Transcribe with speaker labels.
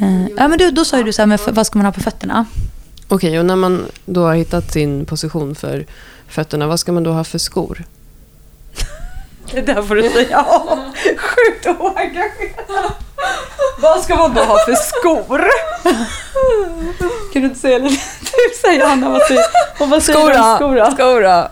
Speaker 1: Eh, ja, men du, då sa ju du så här, men f- vad ska man ha på fötterna?
Speaker 2: Okej, och när man då har hittat sin position för fötterna, vad ska man då ha för skor?
Speaker 1: Det där får du säga. Sjukt oengagerat. Vad ska man då ha för skor? Kan du inte säga lite? Du säger Anna vad du... Skora!
Speaker 3: Skora! Skora!